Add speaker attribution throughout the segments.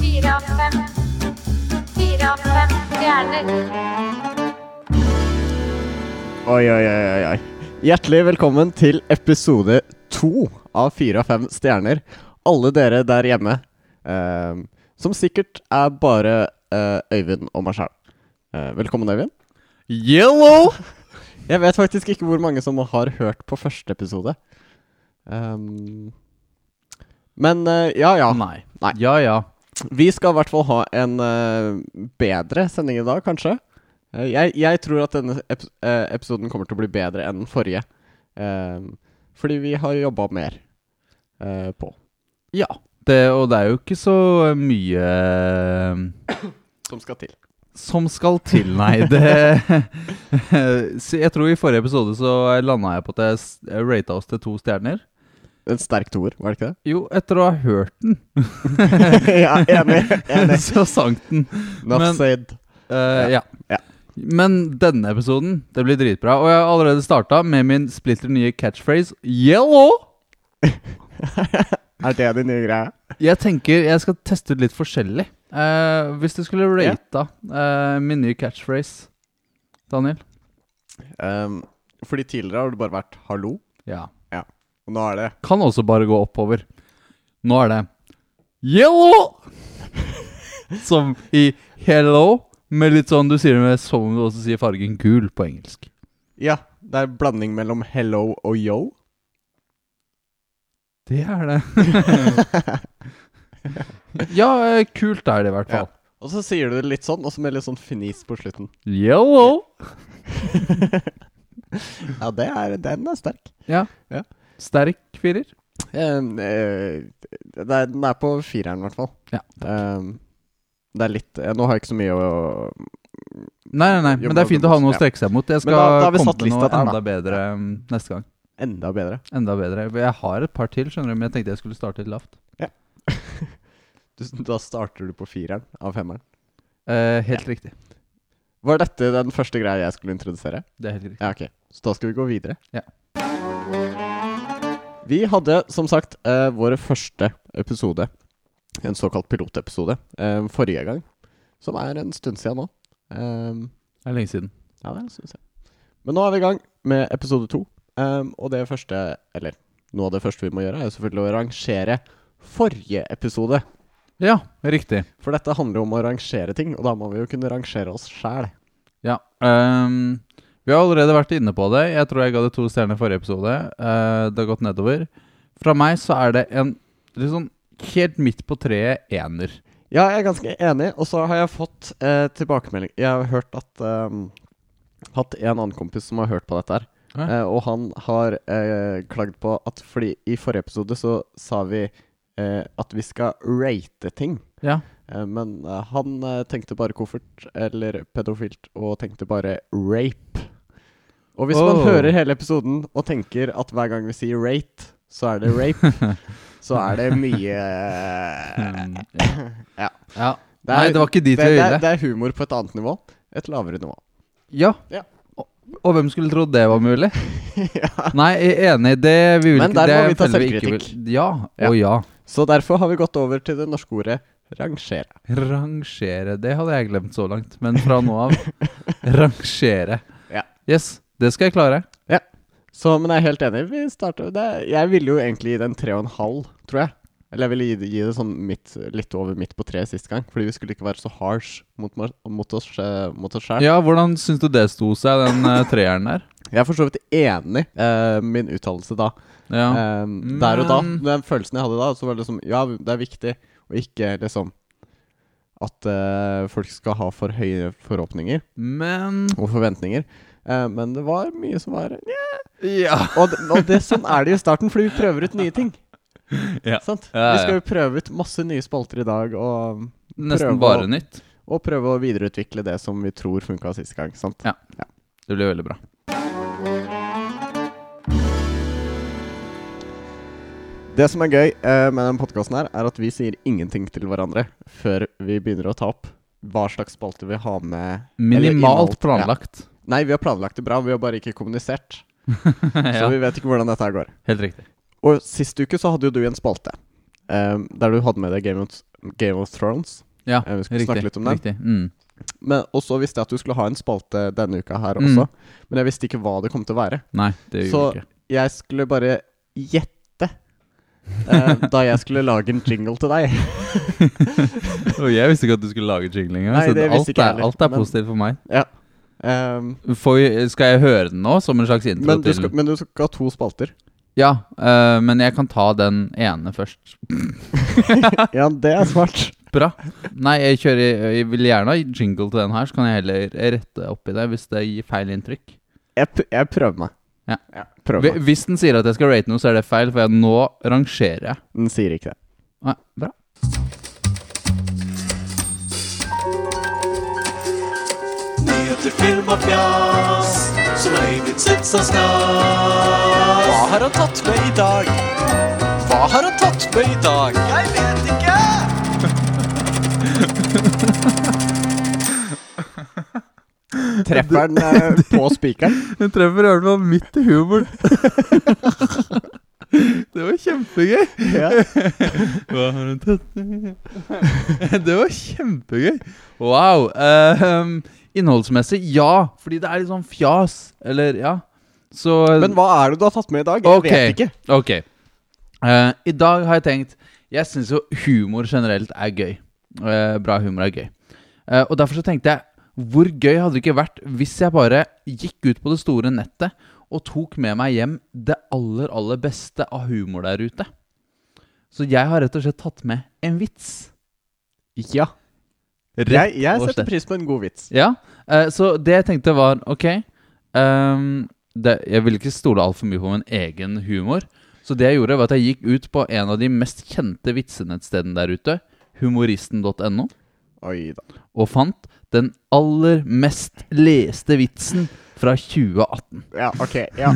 Speaker 1: Fire av fem. Fire av fem stjerner.
Speaker 2: Oi, oi, oi, oi, oi. Hjertelig velkommen til episode to av Fire av fem stjerner. Alle dere der hjemme, eh, som sikkert er bare eh, Øyvind og meg sjæl. Eh, velkommen, Øyvind.
Speaker 3: Yellow!
Speaker 2: Jeg vet faktisk ikke hvor mange som har hørt på første episode. Ehm, men eh, ja, ja.
Speaker 3: Nei.
Speaker 2: Nei.
Speaker 3: Ja, ja.
Speaker 2: Vi skal i hvert fall ha en eh, bedre sending i dag, kanskje. Eh, jeg, jeg tror at denne ep eh, episoden kommer til å bli bedre enn den forrige. Eh, fordi vi har jobba mer eh, på.
Speaker 3: Ja. Det, og det er jo ikke så mye eh,
Speaker 2: Som skal til.
Speaker 3: som skal til, nei. Det Så Jeg tror i forrige episode så landa jeg på at jeg s- jeg rata oss til to stjerner.
Speaker 2: En sterk toer, var det ikke
Speaker 3: Jo, etter å ha hørt den,
Speaker 2: det? ja, enig. enig.
Speaker 3: så sank den.
Speaker 2: Not
Speaker 3: Men-
Speaker 2: said.
Speaker 3: Eh, ja.
Speaker 2: Ja.
Speaker 3: Men denne episoden, det blir dritbra. Og jeg har allerede starta med min splitter nye catchphrase 'Yellow'.
Speaker 2: Er det din nye greie?
Speaker 3: Jeg tenker jeg skal teste ut litt forskjellig. Eh, hvis du skulle
Speaker 2: Ja.
Speaker 3: rata eh, min nye catchphrase, Daniel
Speaker 2: Um, fordi tidligere har det bare vært 'hallo',
Speaker 3: Ja.
Speaker 2: og nå er det
Speaker 3: Kan også bare gå oppover. Nå er det Yellow! Som i hello, med litt sånn du sier det med som du også sier fargen gul på engelsk.
Speaker 2: Ja, det er en blanding mellom 'hello' og 'yo'.
Speaker 3: Det er det. ja, eh, kult er det i hvert fall.
Speaker 2: Og så sier du det litt sånn, og så med litt sånn fnis på slutten.
Speaker 3: Yellow!
Speaker 2: Ja, det er, den er sterk.
Speaker 3: Ja.
Speaker 2: Ja.
Speaker 3: Sterk firer.
Speaker 2: Um, eh, det er, den er på fireren, i hvert fall.
Speaker 3: Ja,
Speaker 2: Um, det er litt eh, Nå har jeg ikke så mye å
Speaker 3: Nei, nei, nei, men det er fint å ha noe å strekke seg mot. Jeg skal
Speaker 2: Men da- da har vi
Speaker 3: komme
Speaker 2: satt
Speaker 3: med noe
Speaker 2: lista der, da.
Speaker 3: enda bedre um, neste gang.
Speaker 2: Enda bedre.
Speaker 3: Enda bedre. Jeg har et par til, skjønner du, men jeg tenkte jeg skulle starte litt lavt.
Speaker 2: Du, da starter du på fireren av femmeren.
Speaker 3: Eh, helt riktig.
Speaker 2: Var dette den første greia jeg skulle introdusere?
Speaker 3: Det er helt riktig.
Speaker 2: Ja, ok. Så da skal vi gå videre.
Speaker 3: Ja.
Speaker 2: Vi hadde som sagt eh, vår første episode, en såkalt pilotepisode, eh, forrige gang. Som er en stund siden nå. Um,
Speaker 3: Det er lenge siden.
Speaker 2: Ja, det synes jeg. Men nå er vi i gang med episode to. Ehm, og det første, eller noe av det første vi må gjøre, er jo selvfølgelig å rangere forrige episode.
Speaker 3: Ja, riktig.
Speaker 2: For dette handler jo om å rangere ting, og da må vi jo kunne rangere oss sjæl.
Speaker 3: Ja. ehm, vi har allerede vært inne på det. Jeg tror jeg ga det to stjerner i forrige episode. Eh, det har gått nedover. Fra meg så er det en litt sånn helt midt på treet ener.
Speaker 2: Ja, jeg er ganske enig, og så har jeg fått eh, tilbakemelding Jeg har hørt at ehm, Hatt en annen kompis som har hørt på dette her.
Speaker 3: Hæ?
Speaker 2: Eh, og han har eh, klagd på at fordi i forrige episode så sa vi eh, at vi skal rate ting.
Speaker 3: Ja.
Speaker 2: Eh, Men eh, han eh, tenkte bare koffert, eller pedofilt, og tenkte bare rape. Og hvis man
Speaker 3: Oh.
Speaker 2: hører hele episoden og tenker at hver gang vi sier rate, så er det rape, så er det mye
Speaker 3: Hmm,
Speaker 2: Ja.
Speaker 3: ja. Nei, det var ikke dit
Speaker 2: det,
Speaker 3: vi
Speaker 2: det,
Speaker 3: ville.
Speaker 2: det er humor på et annet nivå. Et lavere nivå.
Speaker 3: Ja.
Speaker 2: Ja.
Speaker 3: Og, og hvem skulle trodd det var mulig?
Speaker 2: ja.
Speaker 3: Nei, jeg er enig. Det vi vil
Speaker 2: Men
Speaker 3: ikke,
Speaker 2: der
Speaker 3: det
Speaker 2: må vi ta
Speaker 3: føler ikke
Speaker 2: selvkritikk.
Speaker 3: vil- Ja.
Speaker 2: Ja.
Speaker 3: Å ja.
Speaker 2: Så derfor har vi gått over til det norske ordet rangere.
Speaker 3: Rangere. Det hadde jeg glemt så langt. Men fra nå av rangere.
Speaker 2: Ja.
Speaker 3: Yes, det skal jeg klare.
Speaker 2: Så, men jeg er helt enig. Vi starter det. Jeg ville jo egentlig gi den tre og en halv, tror jeg. Eller jeg ville gi, det- gi det sånn midt, litt over midt på tre sist gang. Fordi vi skulle ikke være så harsh mot, mar- mot oss eh, mot oss sjøl.
Speaker 3: Ja, hvordan syns du det sto seg, den eh, treeren der?
Speaker 2: Jeg er for så vidt enig eh, min uttalelse da.
Speaker 3: Ja.
Speaker 2: Eh, der og da.
Speaker 3: Men-
Speaker 2: Den følelsen jeg hadde da, så var det liksom Ja, det er viktig å ikke liksom At eh, folk skal ha for høye forhåpninger
Speaker 3: Men
Speaker 2: og forventninger. Eh, men det var mye som var
Speaker 3: Ja.
Speaker 2: Og, det, og det, sånn er det jo i starten, fordi vi prøver ut nye ting.
Speaker 3: Ja.
Speaker 2: Sant?
Speaker 3: Ja, ja,
Speaker 2: Vi skal jo prøve ut masse nye spalter i dag, og,
Speaker 3: Nesten
Speaker 2: Prøve å-
Speaker 3: bare nytt.
Speaker 2: og prøve å videreutvikle det som vi tror funka sist gang. Sant?
Speaker 3: Ja. Det blir veldig bra.
Speaker 2: Det som er gøy eh, med den podkasten her, er at vi sier ingenting til hverandre før vi begynner å ta opp hva slags spalte vi har med eller
Speaker 3: Minimalt
Speaker 2: innhold. Ja.
Speaker 3: planlagt.
Speaker 2: Nei, vi har planlagt det bra, vi har bare ikke kommunisert. Så
Speaker 3: Ja,
Speaker 2: vi vet ikke hvordan dette her går.
Speaker 3: Helt riktig.
Speaker 2: Og sist uke så hadde jo du en spalte eh, der du hadde med deg Game of, Game of Thrones.
Speaker 3: Ja,
Speaker 2: Eh, Vi skulle
Speaker 3: riktig.
Speaker 2: snakke litt om den.
Speaker 3: riktig. Mm.
Speaker 2: Men, og så visste jeg at du skulle ha en spalte denne uka her også, men jeg visste ikke hva det kom til å være.
Speaker 3: Nei, det gjorde
Speaker 2: Så-
Speaker 3: vi ikke.
Speaker 2: Jeg skulle bare gjette eh, da jeg skulle lage en jingle til deg.
Speaker 3: Og jeg visste ikke at du skulle lage jingling.
Speaker 2: Nei,
Speaker 3: så
Speaker 2: det visste
Speaker 3: alt,
Speaker 2: ikke jeg
Speaker 3: er,
Speaker 2: heller,
Speaker 3: alt er
Speaker 2: men-
Speaker 3: positivt for meg.
Speaker 2: Ehm,
Speaker 3: Får vi- skal jeg høre den nå, som en slags intro
Speaker 2: men, du
Speaker 3: til
Speaker 2: skal, men du skal ha to spalter.
Speaker 3: Ja, eh, men jeg kan ta den ene først.
Speaker 2: Ja, det er smart.
Speaker 3: Bra. Nei, jeg kjører Jeg vil gjerne ha jingle til den her, så kan jeg heller rette opp i det hvis det gir feil inntrykk.
Speaker 2: Jeg, p- jeg prøver meg.
Speaker 3: Ja.
Speaker 2: prøver
Speaker 3: Hvi-
Speaker 2: meg.
Speaker 3: Hvis den sier at jeg skal rate noe, så er det feil, for jeg, nå rangerer jeg.
Speaker 2: Den sier ikke det.
Speaker 3: Nei, bra.
Speaker 4: Nyheter, film og fjas Som Øyvind syns er stas Hva har han tatt med i dag? Hva har han tatt med i dag? Jeg vet ikke!
Speaker 2: Treffer den eh, på spikeren?
Speaker 3: Hun treffer i hvert fall midt i humoren. det var kjempegøy.
Speaker 2: Ja.
Speaker 3: Hva har hun tatt Det var kjempegøy. Wow. ehm, innholdsmessig, ja. Fordi det er litt sånn fjas. Eller, ja. Så
Speaker 2: Men hva er det du har tatt med i dag? Jeg
Speaker 3: Ok.
Speaker 2: vet ikke.
Speaker 3: Ok. Eh, I dag har jeg tenkt Jeg syns jo humor generelt er gøy. Eh, bra humor er gøy. Eh, og derfor så tenkte jeg hvor gøy hadde det ikke vært hvis jeg bare gikk ut på det store nettet og tok med meg hjem det aller, aller beste av humor der ute? Så jeg har rett og slett tatt med en vits.
Speaker 2: Ja.
Speaker 3: Rett
Speaker 2: Jeg, jeg
Speaker 3: og slett.
Speaker 2: setter pris på en god vits.
Speaker 3: Ja, eh, så det jeg tenkte var Ok, ehm, det, jeg ville ikke stole altfor mye på min egen humor. Så det jeg gjorde, var at jeg gikk ut på en av de mest kjente vitsenettstedene der ute, humoristen.no,
Speaker 2: Oi da.
Speaker 3: og fant den aller mest leste vitsen fra 2018.
Speaker 2: Ja, ok. Ja.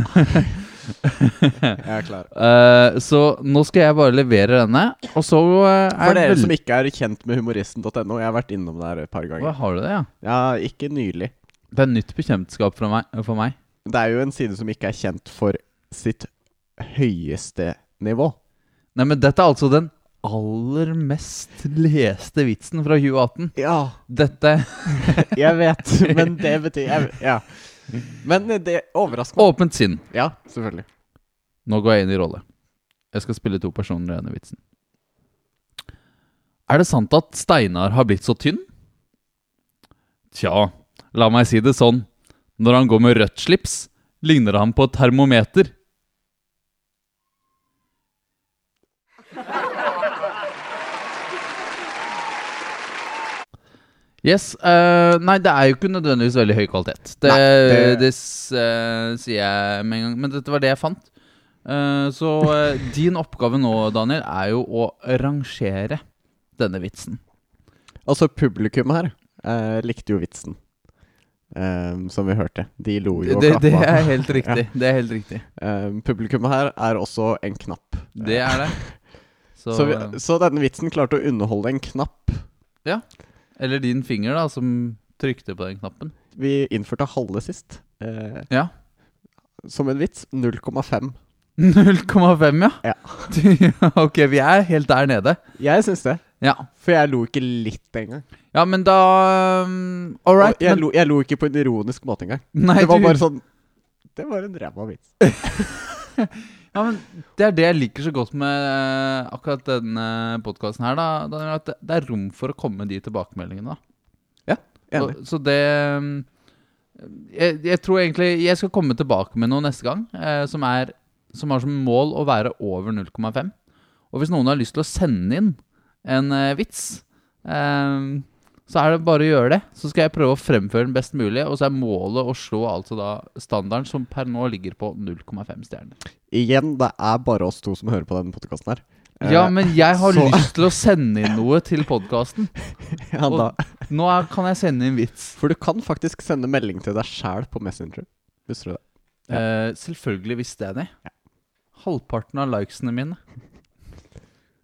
Speaker 2: Jeg er klar.
Speaker 3: Eh, så nå skal jeg bare levere denne, og så eh, er
Speaker 2: For dere
Speaker 3: vel-
Speaker 2: som ikke er kjent med humoristen.no, jeg har vært innom der et par
Speaker 3: Hva,
Speaker 2: ganger.
Speaker 3: Har du det, ja?
Speaker 2: Ja, ikke nylig.
Speaker 3: Det er nytt bekjentskap fra meg, for meg.
Speaker 2: Det er jo en side som ikke er kjent for sitt høyeste nivå.
Speaker 3: Nei, men dette er altså den aller mest leste vitsen fra 2018.
Speaker 2: Ja,
Speaker 3: Dette
Speaker 2: jeg vet, men det betyr jeg, Ja. Men det overrasker meg.
Speaker 3: Åpent sinn.
Speaker 2: Ja, selvfølgelig.
Speaker 3: Nå går jeg inn i rolle. Jeg skal spille to personer i denne vitsen. Er det sant at Steinar har blitt så tynn? Tja, la meg si det sånn. Når han går med rødt slips, ligner han på et termometer. Yes. eh, nei, det er jo ikke nødvendigvis veldig høy kvalitet. Det,
Speaker 2: Nei, det-
Speaker 3: det... s- eh, sier jeg med en gang. Men dette var det jeg fant. Eh, så eh, din oppgave nå, Daniel, er jo å rangere denne vitsen.
Speaker 2: Altså, publikum her eh, likte jo vitsen, eh, som vi hørte. De lo jo og
Speaker 3: Det, det
Speaker 2: klappa.
Speaker 3: er helt riktig. Det er helt riktig.
Speaker 2: Eh, publikum her er også en knapp.
Speaker 3: Det er det. Så,
Speaker 2: Så, vi, så denne vitsen klarte å underholde en knapp.
Speaker 3: Eller din finger, da, som trykte på den knappen.
Speaker 2: Vi innførte halve sist. eh,
Speaker 3: Ja.
Speaker 2: Som en vits. 0,5.
Speaker 3: 0,5, ja?
Speaker 2: Ja.
Speaker 3: Du- ok, vi er helt der nede.
Speaker 2: Jeg syns det.
Speaker 3: Ja,
Speaker 2: For jeg lo ikke litt engang.
Speaker 3: ja men da um, All right.
Speaker 2: Og jeg,
Speaker 3: men,
Speaker 2: lo, jeg lo ikke på en ironisk måte engang.
Speaker 3: nei,
Speaker 2: Det var
Speaker 3: du-
Speaker 2: bare sånn Det var en ræva vits. sånn-
Speaker 3: ja, men Det er det jeg liker så godt med eh, akkurat denne podkasten her, da, Daniel. At det- det er rom for å komme med de tilbakemeldingene, da.
Speaker 2: Enig.
Speaker 3: Så, så det um, jeg, jeg tror egentlig Jeg skal komme tilbake med noe neste gang eh, som, er, som har som mål å være over 0,5. Og hvis noen har lyst til å sende inn en eh, vits, eh, så er det bare å gjøre det. Så skal jeg prøve å fremføre den best mulig, og så er målet å slå altså da standarden som per nå ligger på 0,5 stjerner.
Speaker 2: Igjen, det er bare oss to som hører på denne podkasten her. Eh,
Speaker 3: Ja, men jeg har
Speaker 2: så-
Speaker 3: lyst til å sende inn noe til podkasten.
Speaker 2: ja, da.
Speaker 3: Nå er, kan jeg sende inn vits.
Speaker 2: For du kan faktisk sende melding til deg sjæl på Messenger. Visste du det?
Speaker 3: Eh, selvfølgelig visste jeg det. Halvparten av likesene mine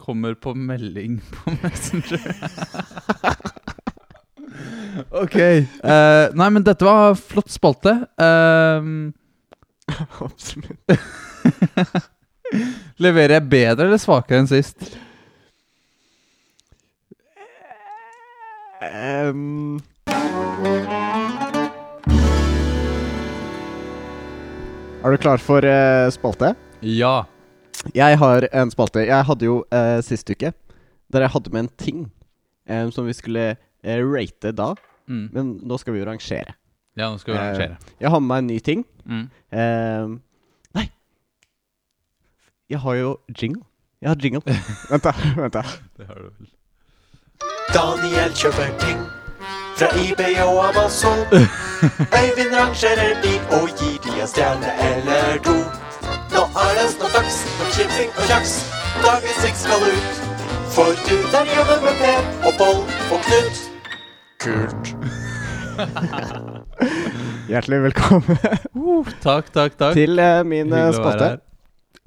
Speaker 3: kommer på melding på Messenger. ok. eh, nei, men dette var flott spalte. Eh,
Speaker 2: Absolutt.
Speaker 3: leverer jeg bedre eller svakere enn sist?
Speaker 2: Ehm, er du klar for eh, spalte?
Speaker 3: Ja.
Speaker 2: Jeg har en spalte. Jeg hadde jo eh, sist uke der jeg hadde med en ting eh, som vi skulle eh, rate da.
Speaker 3: Mm.
Speaker 2: Men nå skal vi jo rangere.
Speaker 3: Ja, nå skal vi rangere.
Speaker 2: Eh, jeg har med meg en ny ting.
Speaker 3: Mm.
Speaker 2: Ehm, nei Jeg har jo jingle. Jeg har jingle. vent, da. vent da
Speaker 3: Det har du vel.
Speaker 4: Daniel kjøper ting fra eBay og Amazon. Øyvind rangerer de og gir de en stjerne eller to. Nå er det snart for chipsing og kjaks. Dagens ting skal ut. For du der jobber med Per og Pål og Knut. Kult.
Speaker 2: Hjertelig velkommen
Speaker 3: Takk, takk, takk.
Speaker 2: til eh, min eh,
Speaker 3: Hyggelig å være
Speaker 2: spalte.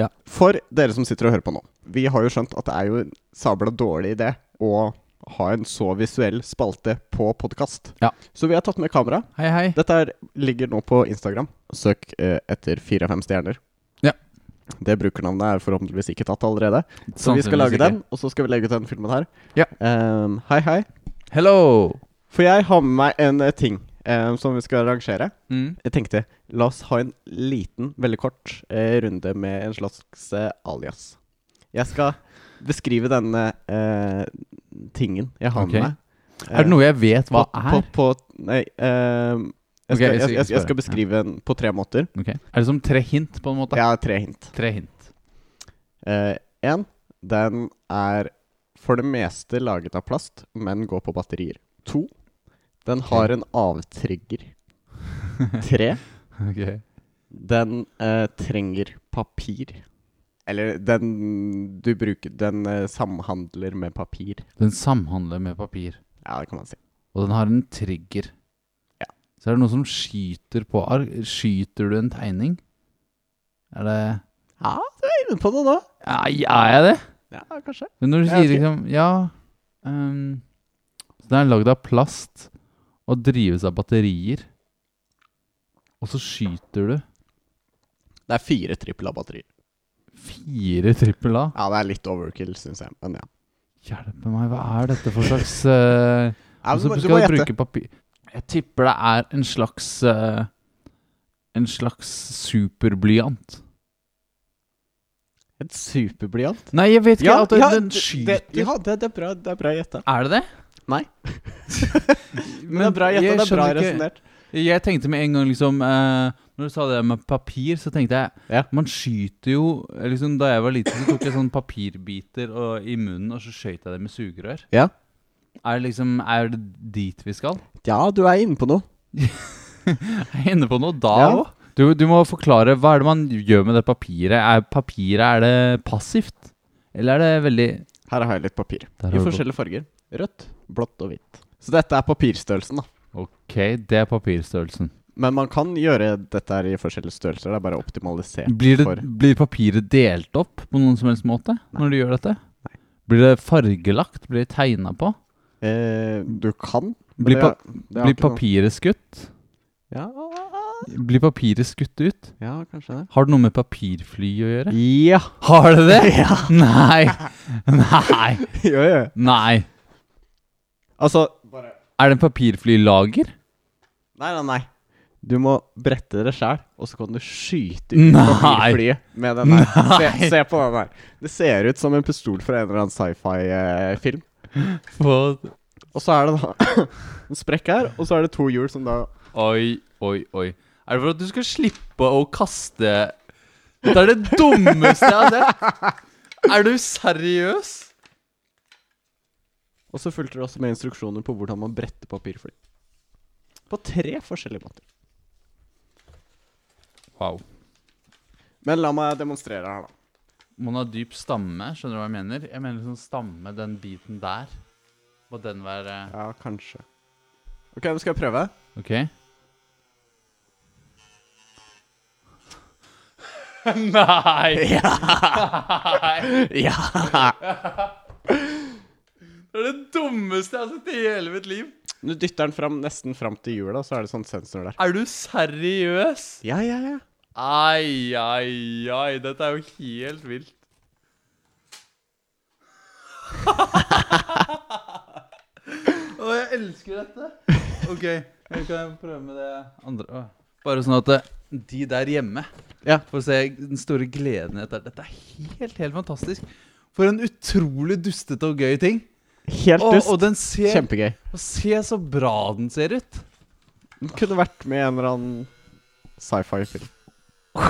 Speaker 3: her.
Speaker 2: For dere som sitter og hører på nå. Vi har jo skjønt at det er jo en sabla dårlig idé å ha en så visuell spalte på podkast.
Speaker 3: Ja.
Speaker 2: Så vi har tatt med kamera.
Speaker 3: Hei, hei.
Speaker 2: Dette her ligger nå på Instagram. Søk eh, etter fire-fem stjerner.
Speaker 3: Ja.
Speaker 2: Det brukernavnet er forhåpentligvis ikke tatt allerede. Så vi skal
Speaker 3: Sannsynligvis
Speaker 2: lage
Speaker 3: ikke.
Speaker 2: den, og så skal vi legge ut den filmen her.
Speaker 3: Ja.
Speaker 2: Ehm, hei, hei.
Speaker 3: Hello!
Speaker 2: For jeg har med meg en eh, ting ehm, som vi skal rangere.
Speaker 3: Mm.
Speaker 2: Jeg tenkte la oss ha en liten, veldig kort eh, runde med en slags eh, alias. Jeg skal beskrive denne eh, tingen jeg har
Speaker 3: Ok.
Speaker 2: med meg. Eh,
Speaker 3: Er det noe jeg vet hva
Speaker 2: på,
Speaker 3: er?
Speaker 2: På, på, nei ehm, jeg,
Speaker 3: Ok,
Speaker 2: skal,
Speaker 3: jeg
Speaker 2: jeg,
Speaker 3: skal
Speaker 2: jeg, jeg skal
Speaker 3: spørre.
Speaker 2: beskrive den på tre måter.
Speaker 3: Ok. Er det som tre hint, på en måte?
Speaker 2: Jeg har tre hint.
Speaker 3: Tre hint.
Speaker 2: Én, den er for det meste laget av plast, men går på batterier. To, den har en avtrigger. Tre,
Speaker 3: Ok.
Speaker 2: den eh, trenger papir. Eller den du bruker Den eh, samhandler med papir.
Speaker 3: Den samhandler med papir,
Speaker 2: Ja, det kan man si.
Speaker 3: og den har en trigger.
Speaker 2: Ja.
Speaker 3: Så er det noe som skyter på ark. Skyter du en tegning? Er det
Speaker 2: Ja, du er inne på det nå.
Speaker 3: Nei, er jeg det?
Speaker 2: Ja, kanskje.
Speaker 3: Men når du
Speaker 2: Jeg
Speaker 3: sier
Speaker 2: vet ikke.
Speaker 3: liksom Ja. ehm, så den er lagd av plast og drives av batterier. Og så skyter du
Speaker 2: Det er fire trippel A-batterier.
Speaker 3: fire trippel A.
Speaker 2: Ja, det er litt overkill, syns jeg. Men ja.
Speaker 3: Hjelpe meg, hva er dette for slags eh,
Speaker 2: ja men,
Speaker 3: Og så
Speaker 2: du, du
Speaker 3: skal
Speaker 2: må
Speaker 3: du
Speaker 2: gjette.
Speaker 3: bruke papir Jeg tipper det er en slags eh, En slags superblyant.
Speaker 2: Et superblyant?
Speaker 3: Nei, jeg vet ikke. at den, den
Speaker 2: det-
Speaker 3: skyter
Speaker 2: det, ja det, det er bra, det er bra gjetta.
Speaker 3: Er det det?
Speaker 2: Nei.
Speaker 3: Men,
Speaker 2: Men det er bra gjetta.
Speaker 3: jeg
Speaker 2: Det er bra
Speaker 3: skjønner ikke-
Speaker 2: resonnert.
Speaker 3: Jeg tenkte med en gang liksom eh, Når du sa det med papir, så tenkte jeg
Speaker 2: Ja.
Speaker 3: Man skyter jo eh, liksom, Da jeg var liten, så tok jeg sånne papirbiter og, i munnen, og så skjøt jeg det med sugerør.
Speaker 2: Ja.
Speaker 3: Er det liksom Er det dit vi skal?
Speaker 2: ja, du er inne på noe.
Speaker 3: Jeg er inne på noe da
Speaker 2: Ja.
Speaker 3: òg. Du, du må forklare hva er det man gjør med det papiret. Er papiret er det passivt? Eller er det veldig
Speaker 2: Her har jeg litt papir.
Speaker 3: Der
Speaker 2: I
Speaker 3: har du
Speaker 2: forskjellige farger. Rødt, blått og hvitt. Så dette er papirstørrelsen, da.
Speaker 3: Ok, det er papirstørrelsen.
Speaker 2: Men man kan gjøre dette her i forskjellige størrelser. Det er bare optimalisert
Speaker 3: Blir, det,
Speaker 2: for
Speaker 3: blir papiret delt opp på noen som helst måte når du gjør dette?
Speaker 2: Nei.
Speaker 3: Blir det fargelagt? Blir det tegna på?
Speaker 2: eh, Du kan men
Speaker 3: Blir,
Speaker 2: det
Speaker 3: pa
Speaker 2: er- det er
Speaker 3: blir
Speaker 2: ikke noe-
Speaker 3: papiret skutt?
Speaker 2: ja,
Speaker 3: Blir papiret skutt ut?
Speaker 2: ja, kanskje det.
Speaker 3: Har det noe med papirfly å gjøre?
Speaker 2: Ja.
Speaker 3: Har det det? Nei! Nei!
Speaker 2: ja, ja.
Speaker 3: Nei!
Speaker 2: Altså
Speaker 3: Er det en papirflylager?
Speaker 2: Nei, nei, nei. Du må brette det sjæl, og så kan du skyte ut
Speaker 3: Nei.
Speaker 2: papirflyet med den der.
Speaker 3: Nei.
Speaker 2: Se, se på den der. Det ser ut som en pistol fra en eller annen sci-fi-film.
Speaker 3: På
Speaker 2: Og så er det da en sprekk her, og så er det to hjul som da
Speaker 3: Oi, oi, oi. Er det for at du skal slippe å kaste Dette er det dummeste jeg har sett! Er du seriøs?
Speaker 2: Og så fulgte det også med instruksjoner på hvordan man bretter papirfly. På tre forskjellige måter.
Speaker 3: Wow.
Speaker 2: Men la meg demonstrere her, da.
Speaker 3: Man har dyp stamme, skjønner du hva jeg mener? Jeg mener liksom stamme, den biten der. Må den være
Speaker 2: Ja, kanskje. Ok, nå skal jeg prøve.
Speaker 3: OK? Nei! Nei!
Speaker 2: Ja!
Speaker 3: Det er det dummeste jeg har sett i hele mitt liv.
Speaker 2: Du dytter den fram, nesten fram til hjulet, og så er det sånn sensor der.
Speaker 3: Er du seriøs?
Speaker 2: Ja, ja, ja.
Speaker 3: Ai, ai, ai. Dette er jo helt vilt. Å, Å, jeg elsker dette! Ok, nå kan jeg prøve med det andre Å. Bare sånn at eh, de der hjemme
Speaker 2: Ja.
Speaker 3: får se den store gleden i dette. Dette er helt, helt fantastisk. For en utrolig dustete og gøy ting.
Speaker 2: Helt
Speaker 3: Og,
Speaker 2: dust.
Speaker 3: og den ser
Speaker 2: Kjempegøy.
Speaker 3: og Se så bra den ser ut.
Speaker 2: Den kunne vært med i en eller annen sci-fi-film.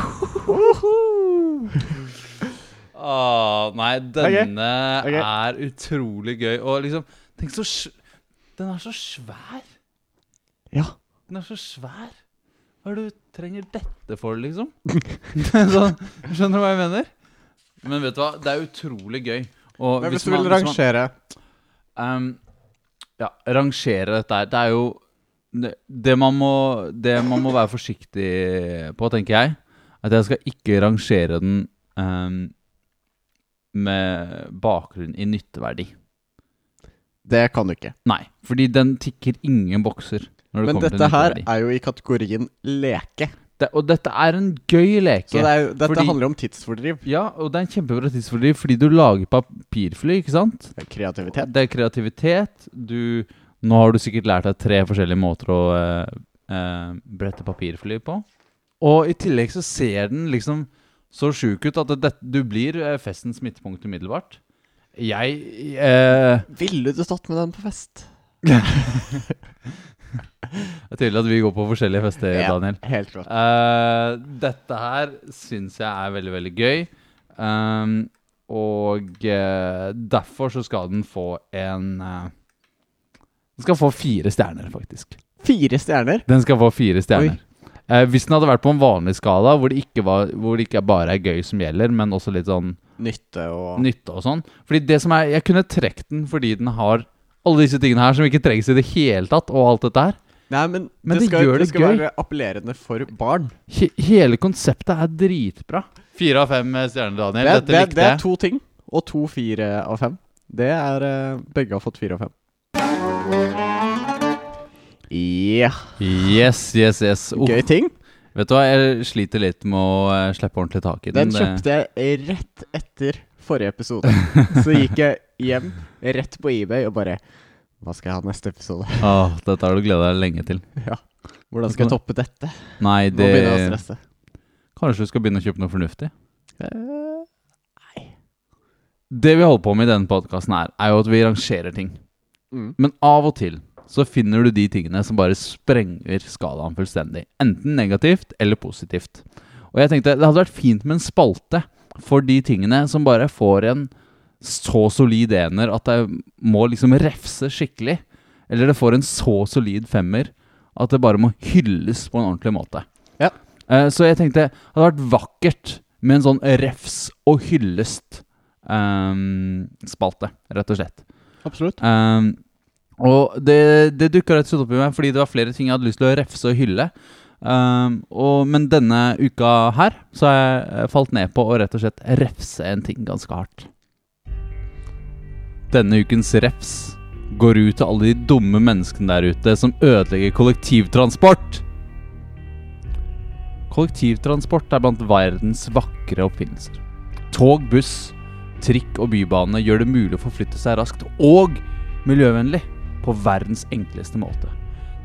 Speaker 3: Åh, nei, denne
Speaker 2: Ok, ok.
Speaker 3: er utrolig gøy. Og liksom, tenk så sj- Den er så svær!
Speaker 2: Ja.
Speaker 3: Den er så svær! Hva er det du trenger dette for, liksom? sånn, skjønner du hva jeg mener? Men vet du hva, det er utrolig gøy. Og
Speaker 2: Men hvis du
Speaker 3: man-
Speaker 2: vil
Speaker 3: man-
Speaker 2: rangere
Speaker 3: Ehm, ja, rangere dette her. Det er jo det, det, man må, det man må være forsiktig på, tenker jeg, at jeg skal ikke rangere den ehm, med bakgrunn i nytteverdi.
Speaker 2: Det kan du ikke.
Speaker 3: Nei, fordi den tikker ingen bokser. Når det
Speaker 2: Men
Speaker 3: kommer
Speaker 2: dette
Speaker 3: til
Speaker 2: her
Speaker 3: nytteverdi.
Speaker 2: er jo i kategorien leke.
Speaker 3: det, Og dette er en gøy leke.
Speaker 2: Så det er jo, dette
Speaker 3: Fordi-
Speaker 2: handler om tidsfordriv.
Speaker 3: Ja, og det er en kjempebra tidsfordriv fordi du lager papirfly, ikke sant?
Speaker 2: Kreativitet.
Speaker 3: Det er kreativitet. Du, nå har du sikkert lært deg tre forskjellige måter å eh, eh, brette papirfly på. Og i tillegg så ser den liksom så sjuk ut at det, det, du blir eh, festens midtpunkt umiddelbart. Jeg eh,
Speaker 2: Ville du stått med den på fest?
Speaker 3: Det er tydelig at vi går på forskjellige fester, Daniel.
Speaker 2: Helt klart.
Speaker 3: Eh, dette her syns jeg er veldig, veldig gøy. Ehm, og eh, derfor så skal den få en eh, Den skal få fire stjerner, faktisk.
Speaker 2: Fire stjerner.
Speaker 3: Den skal få fire stjerner. Eh, hvis den hadde vært på en vanlig skala, hvor det ikke, var, hvor det ikke bare er gøy som gjelder, men også litt sånn
Speaker 2: Nytte og
Speaker 3: nytte og sånn Fordi det som er Jeg kunne trukket den fordi den har alle disse tingene her som ikke trengs i det hele tatt, og alt dette her.
Speaker 2: Nei, men,
Speaker 3: Men
Speaker 2: det
Speaker 3: det
Speaker 2: skal,
Speaker 3: gjør
Speaker 2: det
Speaker 3: det
Speaker 2: skal
Speaker 3: gøy.
Speaker 2: være appellerende for barn.
Speaker 3: He hele konseptet er dritbra. Fire av fem eh, stjerner, Daniel.
Speaker 2: Det,
Speaker 3: Dette
Speaker 2: det,
Speaker 3: likte
Speaker 2: det er
Speaker 3: jeg.
Speaker 2: to ting. Og to fire av fem. Det er eh, Begge har fått fire av fem. Ja.
Speaker 3: Yes, yes, yes. Uff.
Speaker 2: Gøy ting.
Speaker 3: Vet du hva, jeg sliter litt med å eh, slippe ordentlig tak i den. eh,
Speaker 2: Den kjøpte jeg rett etter forrige episode. Så gikk jeg hjem, rett på eBay, og bare Hva skal jeg ha neste episode?
Speaker 3: Det, Åh, dette har du gleda deg lenge til.
Speaker 2: Ja. Hvordan skal jeg toppe dette?
Speaker 3: Nei,
Speaker 2: Nå
Speaker 3: det
Speaker 2: begynner jeg å stresse.
Speaker 3: Kanskje du skal begynne å kjøpe noe fornuftig?
Speaker 2: Eh,
Speaker 3: Det vi holder på med i denne podkasten, er, er jo at vi rangerer ting.
Speaker 2: Mm.
Speaker 3: Men av og til så finner du de tingene som bare sprenger skalaen fullstendig. Enten negativt eller positivt. Og jeg tenkte det hadde vært fint med en spalte for de tingene som bare får en så solid ener at det må liksom refse skikkelig. Eller det får en så solid femmer at det bare må hylles på en ordentlig måte.
Speaker 2: Ja.
Speaker 3: Eh, Så jeg tenkte det hadde vært vakkert med en sånn refs og hyllest ehm, spalte, rett og slett.
Speaker 2: Absolutt.
Speaker 3: Ehm, og det, det dukka rett og slett opp i meg fordi det var flere ting jeg hadde lyst til å refse og hylle. Ehm, og, men denne uka her så har jeg eh, falt ned på å rett og slett refse en ting ganske hardt. Denne ukens refs går ut til alle de dumme menneskene der ute som ødelegger kollektivtransport. Kollektivtransport er blant verdens vakre oppfinnelser. Tog, buss, trikk og bybane gjør det mulig å forflytte seg raskt og miljøvennlig på verdens enkleste måte.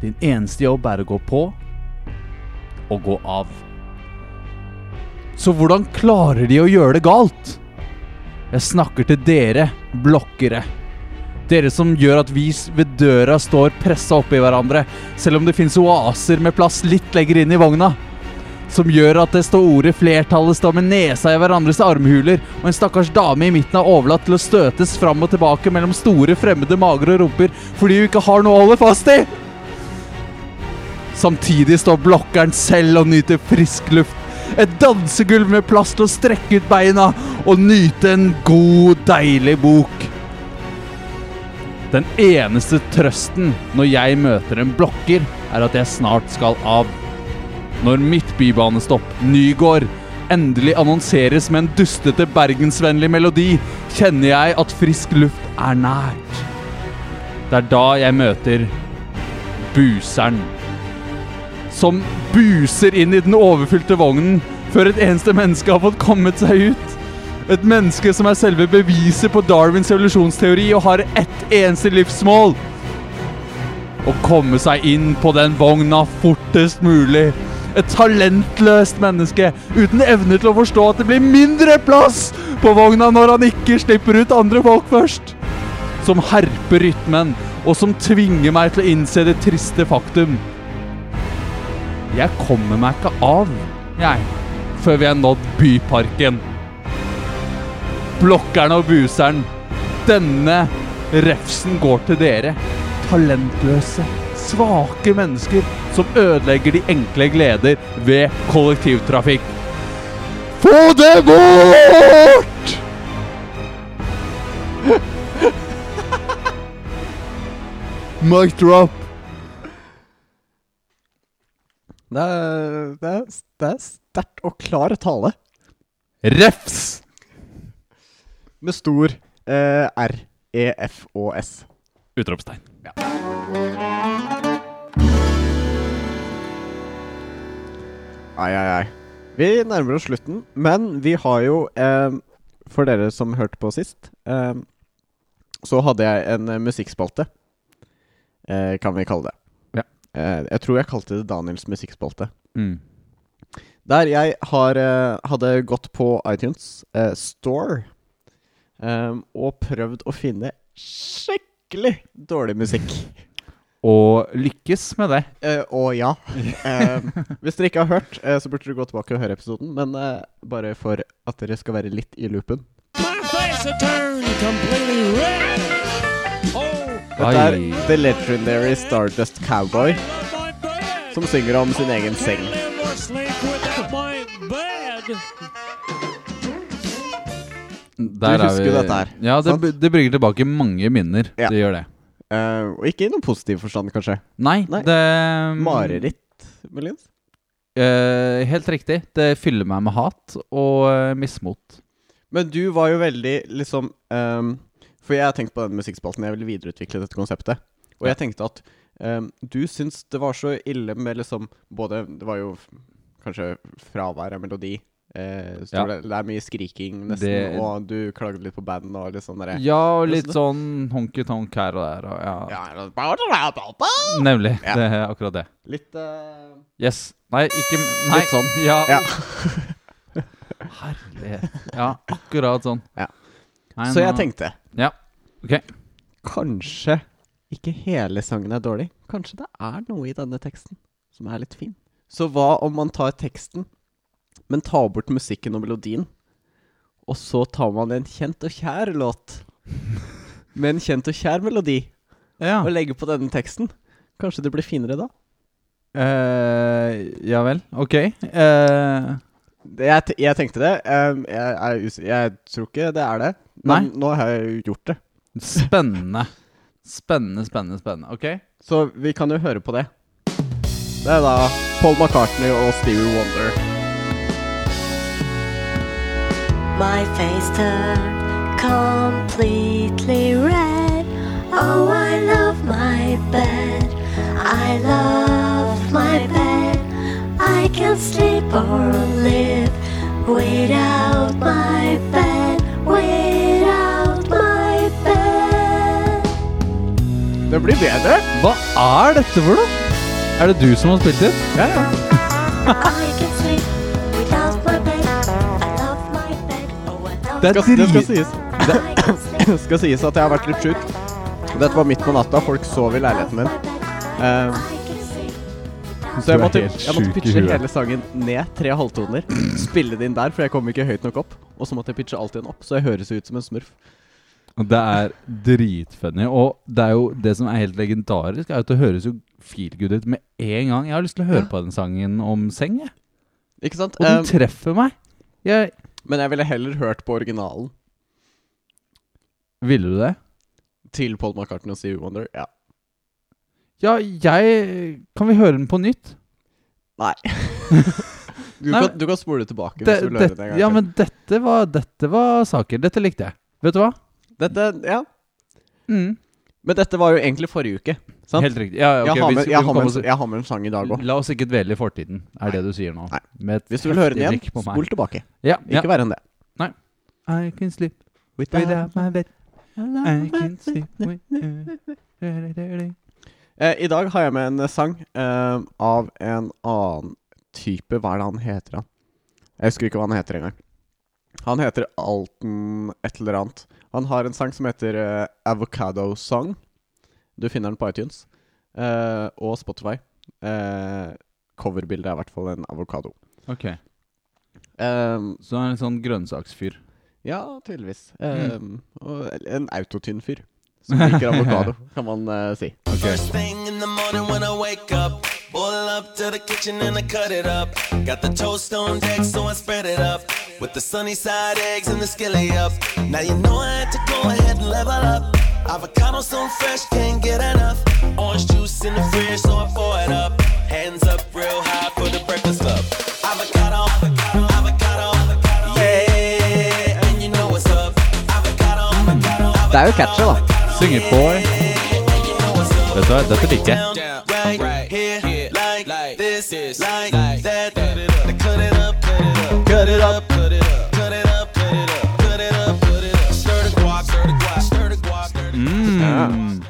Speaker 3: Din eneste jobb er å gå på og gå av. Så hvordan klarer de å gjøre det galt? Jeg snakker til dere, blokkere. Dere som gjør at vi s- ved døra står pressa oppi hverandre, selv om det fins oaser med plass litt lenger inn i vogna som gjør at det står ordet flertallet står med nesa i hverandres armhuler, og en stakkars dame i midten er overlatt til å støtes fram og tilbake mellom store fremmede mager og rumper fordi hun ikke har noe å holde fast i. Samtidig står blokkeren selv og nyter frisk luft. Et dansegulv med plass til å strekke ut beina og nyte en god, deilig bok. Den eneste trøsten når jeg møter en blokker, er at jeg snart skal av når mitt bybanestopp, Nygård, endelig annonseres med en dustete bergensvennlig melodi, kjenner jeg at frisk luft er nært. Det er da jeg møter Buseren. Som buser inn i den overfylte vognen før et eneste menneske har fått kommet seg ut. Et menneske som er selve beviset på Darwins evolusjonsteori og har ett eneste livsmål. Å komme seg inn på den vogna fortest mulig. Et talentløst menneske uten evne til å forstå at det blir mindre plass på vogna når han ikke slipper ut andre folk først. Som herper rytmen, og som tvinger meg til å innse det triste faktum. Jeg kommer meg ikke av, jeg, før vi har nådd Byparken. Blokkeren og buseren, denne refsen går til dere. Talentløse, svake mennesker som ødelegger de enkle gleder ved kollektivtrafikk. Få det bort! Mic drop.
Speaker 2: Det er, det er, det er sterkt og klar tale.
Speaker 3: Refs!
Speaker 2: Med stor eh, R, E, F og S.
Speaker 3: Utropstegn.
Speaker 2: Ai, ai, ai. Vi nærmer oss slutten, men vi har jo eh, For dere som hørte på sist, eh, så hadde jeg en eh, musikkspalte. Eh, kan vi kalle det.
Speaker 3: Ja.
Speaker 2: Eh, jeg tror jeg kalte det Daniels musikkspalte.
Speaker 3: Mm.
Speaker 2: Der jeg har, eh, hadde gått på iTunes eh, Store eh, og prøvd å finne skikkelig dårlig musikk.
Speaker 3: Og lykkes med det.
Speaker 2: Eh, og ja. Eh, hvis dere ikke har hørt, eh, så burde dere gå tilbake og høre episoden. Men eh, bare for at dere skal være litt i loopen. Dette er The Legendary Stardust Cowboy som synger om sin egen seng. husker dette her,
Speaker 3: Ja, det,
Speaker 2: sant?
Speaker 3: det bringer tilbake mange minner.
Speaker 2: Ja.
Speaker 3: Det gjør det.
Speaker 2: Eh, og ikke i noen positiv forstand, kanskje.
Speaker 3: Nei,
Speaker 2: Nei.
Speaker 3: det mm,
Speaker 2: Mareritt, muligens?
Speaker 3: Eh, helt riktig. Det fyller meg med hat og eh, mismot.
Speaker 2: Men du var jo veldig liksom ehm, For jeg har tenkt på den musikkspalten. Jeg ville videreutvikle dette konseptet. Og jeg tenkte at ehm, du syns det var så ille med liksom både Det var jo f- kanskje fravær av melodi. eh, så
Speaker 3: Ja.
Speaker 2: det, det er mye skriking, nesten,
Speaker 3: Det-
Speaker 2: og du klagde litt på band og litt sånn derre
Speaker 3: Ja, og
Speaker 2: det
Speaker 3: litt sånn honky-tonk her og der. Og, ja.
Speaker 2: ja.
Speaker 3: Nemlig.
Speaker 2: Ja.
Speaker 3: Det er akkurat det.
Speaker 2: Litt eh,
Speaker 3: Yes. Nei, ikke nei.
Speaker 2: Litt sånn.
Speaker 3: Ja.
Speaker 2: Ja.
Speaker 3: Herlighet. Ja, akkurat sånn.
Speaker 2: Ja.
Speaker 3: Nei,
Speaker 2: Så jeg
Speaker 3: nå-
Speaker 2: tenkte
Speaker 3: Ja. Ok.
Speaker 2: Kanskje ikke hele sangen er dårlig. Kanskje det er noe i denne teksten som er litt fin. Så hva om man tar teksten, men tar bort musikken og melodien, og så tar man en kjent og kjær låt med en kjent og kjær melodi,
Speaker 3: Ja.
Speaker 2: og legger på denne teksten? Kanskje det blir finere da?
Speaker 3: Eh, ja vel. Ok. Eh,
Speaker 2: Det- Jeg, te- jeg tenkte det. Um, jeg, er us- jeg tror ikke det er det. Men nå har jeg jo gjort det.
Speaker 3: spennende. Spennende, spennende, spennende. Ok.
Speaker 2: Så vi kan jo høre på det. Det er da Paul McCartney og Stevie Wonder.
Speaker 5: My face turned completely red. Oh, I love my bed. I love my bed. I can't sleep or live without my bed. Without my bed.
Speaker 2: Det blir bedre.
Speaker 3: Hva er dette for noe? Er det du som har spilt det?
Speaker 2: Ja, ja.
Speaker 5: I can't sleep without my bed. I love my bed. Oh, I love
Speaker 3: That-
Speaker 2: Skal, det skal sies.
Speaker 5: I can't sleep.
Speaker 2: Det skal sies at jeg har vært litt sjuk. Dette var midt på natta. Folk sov i leiligheten min. Eh, så jeg
Speaker 3: Du er
Speaker 2: måtte,
Speaker 3: helt
Speaker 2: jeg måtte
Speaker 3: sjuk i
Speaker 2: pitche
Speaker 3: huet.
Speaker 2: hele sangen ned tre halvtoner. Spille det inn der, for jeg kom ikke høyt nok opp. Og så måtte jeg pitche alt igjen opp, så jeg høres ut som en smurf.
Speaker 3: Det er dritfunny. Og det er jo det som er helt legendarisk, er at det høres jo feelgood ut med en gang. Jeg har lyst til å høre på den sangen om seng, jeg.
Speaker 2: Ikke sant?
Speaker 3: Og den
Speaker 2: Eh,
Speaker 3: treffer meg. Jeg
Speaker 2: men jeg ville heller hørt på originalen
Speaker 3: Ville du det?
Speaker 2: til Paul McCartney og Stevie Wonder. Ja.
Speaker 3: Ja, jeg Kan vi høre den på nytt?
Speaker 2: Nei. Du,
Speaker 3: Nei,
Speaker 2: kan,
Speaker 3: men-
Speaker 2: du kan spole tilbake
Speaker 3: Det,
Speaker 2: hvis du vil
Speaker 3: det,
Speaker 2: høre det en gang.
Speaker 3: ja,
Speaker 2: til.
Speaker 3: men dette var, dette var saker. Dette likte jeg. Vet du hva?
Speaker 2: Dette, ja.
Speaker 3: Mm.
Speaker 2: men dette var jo egentlig forrige uke. Sant?
Speaker 3: Helt riktig. Ja, ok,
Speaker 2: jeg, har
Speaker 3: hvis
Speaker 2: med,
Speaker 3: vi
Speaker 2: jeg,
Speaker 3: kan
Speaker 2: har
Speaker 3: komme
Speaker 2: med,
Speaker 3: oss-
Speaker 2: en- jeg har med en sang i dag òg.
Speaker 3: La oss ikke dvele i fortiden, er det du sier nå.
Speaker 2: Nei.
Speaker 3: Med et
Speaker 2: Hvis du vil høre den
Speaker 3: heftig
Speaker 2: igjen,
Speaker 3: blikk på meg.
Speaker 2: spol tilbake.
Speaker 3: Ja,
Speaker 2: Ikke
Speaker 3: ja.
Speaker 2: verre enn det.
Speaker 3: I can sleep without my bed. I can sleep without
Speaker 2: Eh, I dag har jeg med en eh, sang eh, av en annen type Hva er det han heter, han? Jeg husker ikke hva han heter engang. Han heter Alten et eller annet. Han har en sang som heter eh, Avocado Song. Du finner den på iTunes eh, og Spotify. Eh, coverbildet er i hvert fall en avokado.
Speaker 3: Ok,
Speaker 2: Eh,
Speaker 3: Så han er en sånn grønnsaksfyr.
Speaker 2: ja, tydeligvis. Eh, og en autotynn fyr som liker avokado, kan man eh, si.
Speaker 6: First thing in the morning when I wake up, boil up to the kitchen and I cut it up. Got the toast on deck, so I spread it up with the sunny side eggs and the skillet up. Now you know I had to go ahead and level up. Avocado so fresh, can't get enough. Orange juice in the fridge, so I pour it up. Hands up real high for the breakfast club. Avocado, avocado, avocado, yeah, and you know what's up. Avocado, avocado, avocado.
Speaker 2: Det er jo catchy, da.
Speaker 3: Synger på. Vet du hva, dette liker jeg.
Speaker 6: down, right, here, like, this, like, that. Cut it up, cut it up, cut it up, cut it up, cut it up, cut it up, cut it up. Stir the guap, stir the guap, stir the guap, stir the guap.
Speaker 3: Mm.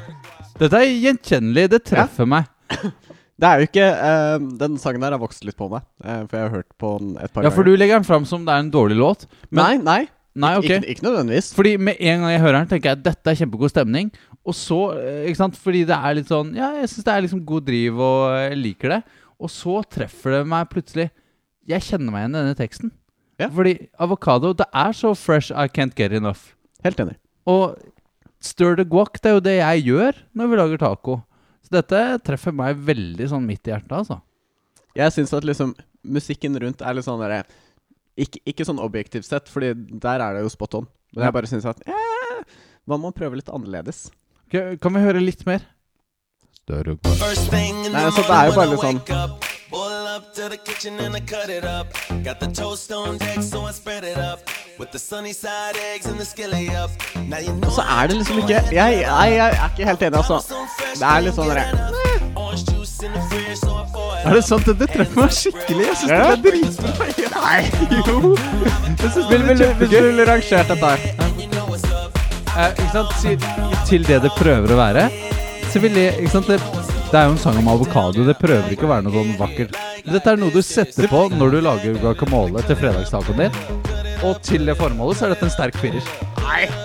Speaker 3: Dette er gjenkjennelig. Det treffer meg.
Speaker 2: Det er jo ikke eh, Den sangen der har vokst litt på meg, eh, for jeg har hørt på den et par
Speaker 3: Ja, for du legger den fram som det er en dårlig låt.
Speaker 2: Nei, nei.
Speaker 3: Nei, ok.
Speaker 2: Ikke, ikke nødvendigvis.
Speaker 3: Fordi med en gang jeg hører den, tenker jeg dette er kjempegod stemning. Og så, eh, ikke sant, fordi det er litt sånn Ja, jeg syns det er liksom god driv, og jeg liker det. Og så treffer det meg plutselig. Jeg kjenner meg igjen i denne teksten.
Speaker 2: Ja.
Speaker 3: Fordi avokado, det er så fresh I can't get enough.
Speaker 2: Helt enig.
Speaker 3: Og stir the guac, det er jo det jeg gjør når vi lager taco. Så dette treffer meg veldig sånn midt i hjertet, altså.
Speaker 2: Jeg syns at liksom musikken rundt er litt sånn derre ikke, ikke sånn objektivt sett, Fordi der er det jo spot on. Men
Speaker 3: Ja.
Speaker 2: jeg bare syns at eh, Hva med å prøve litt annerledes?
Speaker 3: Ok, Kan vi høre litt mer? Større guac.
Speaker 6: First thing in
Speaker 2: Nei,
Speaker 6: the
Speaker 2: altså, det er jo
Speaker 6: morning
Speaker 2: bare
Speaker 6: when I
Speaker 2: litt sånn-
Speaker 6: wake up, boil up to the kitchen and I cut it up. Got the toast on deck, so I spread it up with the sunny side eggs and the skillet up. Now you know.
Speaker 2: Så er det liksom ikke Jeg, jeg, jeg er ikke helt enig, altså. Det er litt sånn derre
Speaker 6: Er
Speaker 3: Er det sant? Dette treffer meg skikkelig. Jeg syns det er dritbra. Nei, jo. Jeg synes det
Speaker 2: Vil- vil
Speaker 3: er
Speaker 2: du- Hvis du
Speaker 3: kjempegøy.
Speaker 2: ville rangert dette her
Speaker 3: Eh, ikke sant? Si- Til det det prøver å være, så vil jeg ikke sant? Det, det er jo en sang om avokado. Det prøver ikke å være noe sånn vakkert. Men Dette er noe du setter på når du lager guacamole til fredagstacoen din. Og til det formålet så er dette en sterk firer.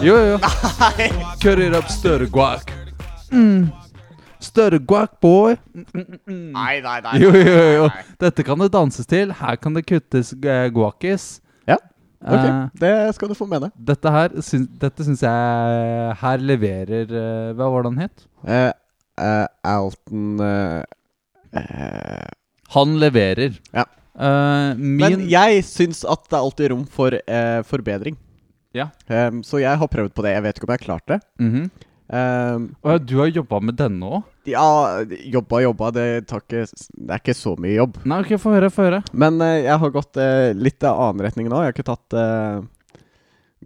Speaker 3: Jo, jo. Nei. Cut it up, større guac. Mm. Større guac, boy.
Speaker 2: Nei, nei, nei.
Speaker 3: Jo, jo, jo. Dette kan det danses til. Her kan det kuttes eh, guacis.
Speaker 2: Ja, ok.
Speaker 3: Eh,
Speaker 2: Det skal du få mene.
Speaker 3: dette her syns, dette syns jeg Her leverer eh, Hva var det han het?
Speaker 2: Uh, Alton eh, eh,
Speaker 3: Han leverer.
Speaker 2: Ja.
Speaker 3: Eh, min
Speaker 2: Men jeg syns at det er alltid rom for eh, forbedring.
Speaker 3: Ja.
Speaker 2: Em, så jeg har prøvd på det. Jeg vet ikke om jeg har klart det.
Speaker 3: Mhm.
Speaker 2: Em,
Speaker 3: Å ja, du har jobba med denne òg?
Speaker 2: ja, jobba, jobba. Det, tar ikke, s- det er ikke så mye jobb.
Speaker 3: Nei, ok, få høre. Få høre.
Speaker 2: Men eh, jeg har gått eh, litt i annen retning nå. Jeg har ikke tatt eh,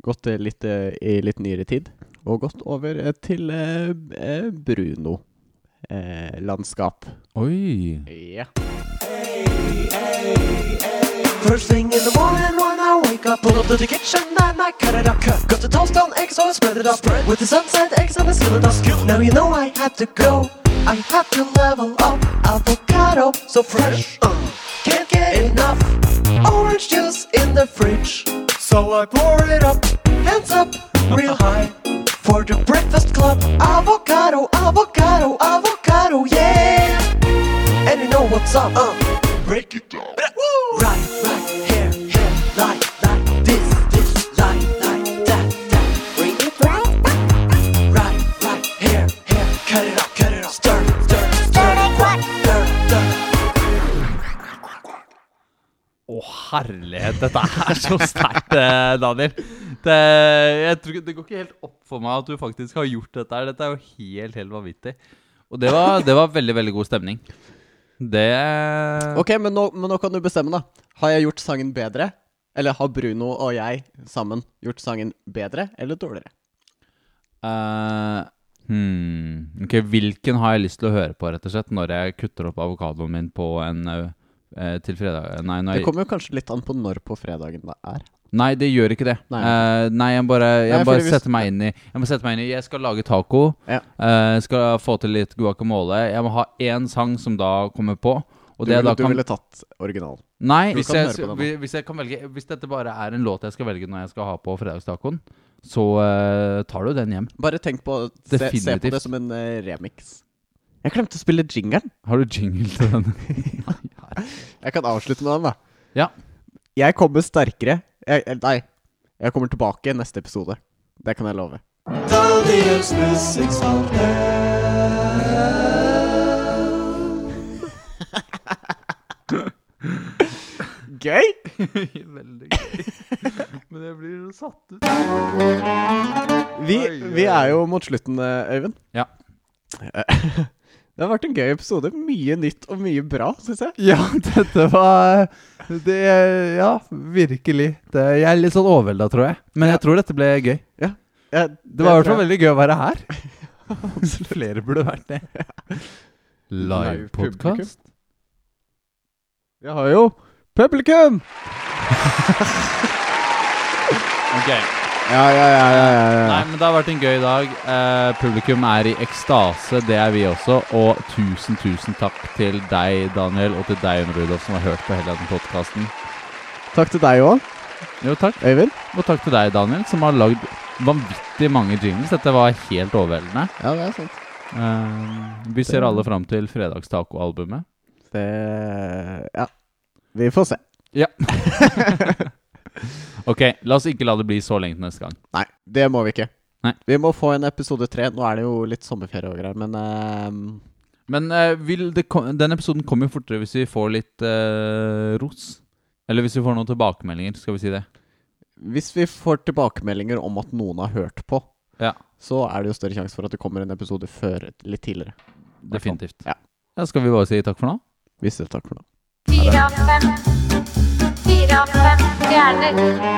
Speaker 2: Gått eh, litt eh, i litt nyere tid. Og gått over eh, til eh, b- eh, Bruno. Eh, landskap.
Speaker 3: Oi.
Speaker 2: Ja.
Speaker 4: First thing in the morning when I wake up, pull up to the kitchen and I cut it up. Cut, got the toast on eggs, so I spread it up. Spread with the sunset eggs and the skillet of scoop. Now you know I had to go. I had to level up. Avocado so fresh, uh, can't get enough. Orange juice in the fridge, so I pour it up. Hands up, real high. For the breakfast club, avocado, avocado, avocado, yeah. And you know what's up? Uh, break it down. Right, right, here, here, like, like, this, this, like, like, that, that. Bring it right back. Right, right, here, here, cut it up, cut it up. Stir, stir, stir it quack. Stir, stir.
Speaker 3: Å, herlighet. Dette er så sterkt, eh, Daniel. Det, jeg tror, ikke- det går ikke helt opp for meg at du faktisk har gjort dette her. Dette er jo helt, helt vanvittig. Og det var, det var veldig, veldig god stemning. Det
Speaker 2: Ok, men nå, men nå kan du bestemme, da. Har jeg gjort sangen bedre? Eller har Bruno og jeg sammen gjort sangen bedre eller dårligere?
Speaker 3: Eh, hmm. Ok, hvilken har jeg lyst til å høre på, rett og slett, når jeg kutter opp avokadoen min på en eh, eh, til fredag Nei, når
Speaker 2: Det
Speaker 3: jeg,
Speaker 2: kommer jo kanskje litt an på når på fredagen det er.
Speaker 3: Nei, det gjør ikke det.
Speaker 2: Nei.
Speaker 3: Eh, nei jeg bare, jeg
Speaker 2: Nei,
Speaker 3: bare
Speaker 2: fordi hvis-
Speaker 3: setter meg inn i Jeg må sette meg inn i Jeg skal lage taco.
Speaker 2: Ja.
Speaker 3: eh, skal få til litt guacamole. Jeg må ha én sang som da kommer på. Og
Speaker 2: Du,
Speaker 3: det jeg
Speaker 2: ville,
Speaker 3: da
Speaker 2: du
Speaker 3: kan
Speaker 2: ville tatt original.
Speaker 3: Nei,
Speaker 2: Du
Speaker 3: hvis
Speaker 2: kan
Speaker 3: jeg,
Speaker 2: høre på den, da.
Speaker 3: hvis- hvis jeg kan velge Hvis dette bare er en låt jeg skal velge når jeg skal ha på fredagstacoen, så eh, tar du den hjem.
Speaker 2: Bare tenk på se, se på
Speaker 3: Definitivt.
Speaker 2: det som en eh, remix. Jeg glemte å spille jingeren.
Speaker 3: Har du jingle til den?
Speaker 2: Jeg kan avslutte med den, da.
Speaker 3: ja.
Speaker 2: Jeg kommer sterkere jeg, eller Nei, jeg kommer tilbake i neste episode. Det kan jeg love.
Speaker 4: Dahlias musikkspalte.
Speaker 2: Gøy!
Speaker 3: Veldig gøy. Men jeg blir jo satt ut.
Speaker 2: Vi,
Speaker 3: Oi, oi,
Speaker 2: vi er jo mot slutten, eh, Øyvind.
Speaker 3: Ja.
Speaker 2: Det har vært en gøy episode. Mye nytt og mye bra, syns jeg.
Speaker 3: Ja, dette var det, Ja, virkelig. Det, jeg er litt sånn overvelda, tror jeg. Men jeg tror dette ble gøy.
Speaker 2: Jeg-
Speaker 3: Det var i
Speaker 2: jeg
Speaker 3: hvert fall
Speaker 2: tror jeg-
Speaker 3: veldig gøy å være her. Flere burde vært det. Live podcast
Speaker 2: Jeg har jo publikum! Ja, ja, ja. ja, ja,
Speaker 3: Nei,
Speaker 2: ja.
Speaker 3: men det har vært en gøy dag. Eh, publikum er i ekstase. Det er vi også. Og tusen, tusen takk til deg, Daniel, og til deg, Jon Rudolf, som har hørt på hele den podkasten.
Speaker 2: Takk til deg òg,
Speaker 3: Jo, takk.
Speaker 2: Øyvind.
Speaker 3: Og takk til deg, Daniel, som har lagd vanvittig mange jingles. Dette var helt overveldende.
Speaker 2: Ja, det er sant.
Speaker 3: Eh, vi ser alle fram til fredagstaco-albumet.
Speaker 2: Det Ja. Vi får se.
Speaker 3: Ok, la oss ikke la det bli så lenge til neste gang.
Speaker 2: Nei, det må vi ikke.
Speaker 3: Nei.
Speaker 2: Vi må få en episode tre. Nå er det jo litt sommerferie og greier, men ehm,
Speaker 3: Men eh, vil det ko den episoden kommer jo fortere hvis vi får litt eh, ros. Eller hvis vi får noen tilbakemeldinger, skal vi si det.
Speaker 2: hvis vi får tilbakemeldinger om at noen har hørt på,
Speaker 3: Ja.
Speaker 2: så er det jo større sjanse for at det kommer en episode før litt tidligere.
Speaker 3: Definitivt.
Speaker 2: Ja.
Speaker 3: Da skal vi bare si takk for nå.
Speaker 2: Visst, takk for nå.
Speaker 1: Fire av fem. Fire av fem stjerner.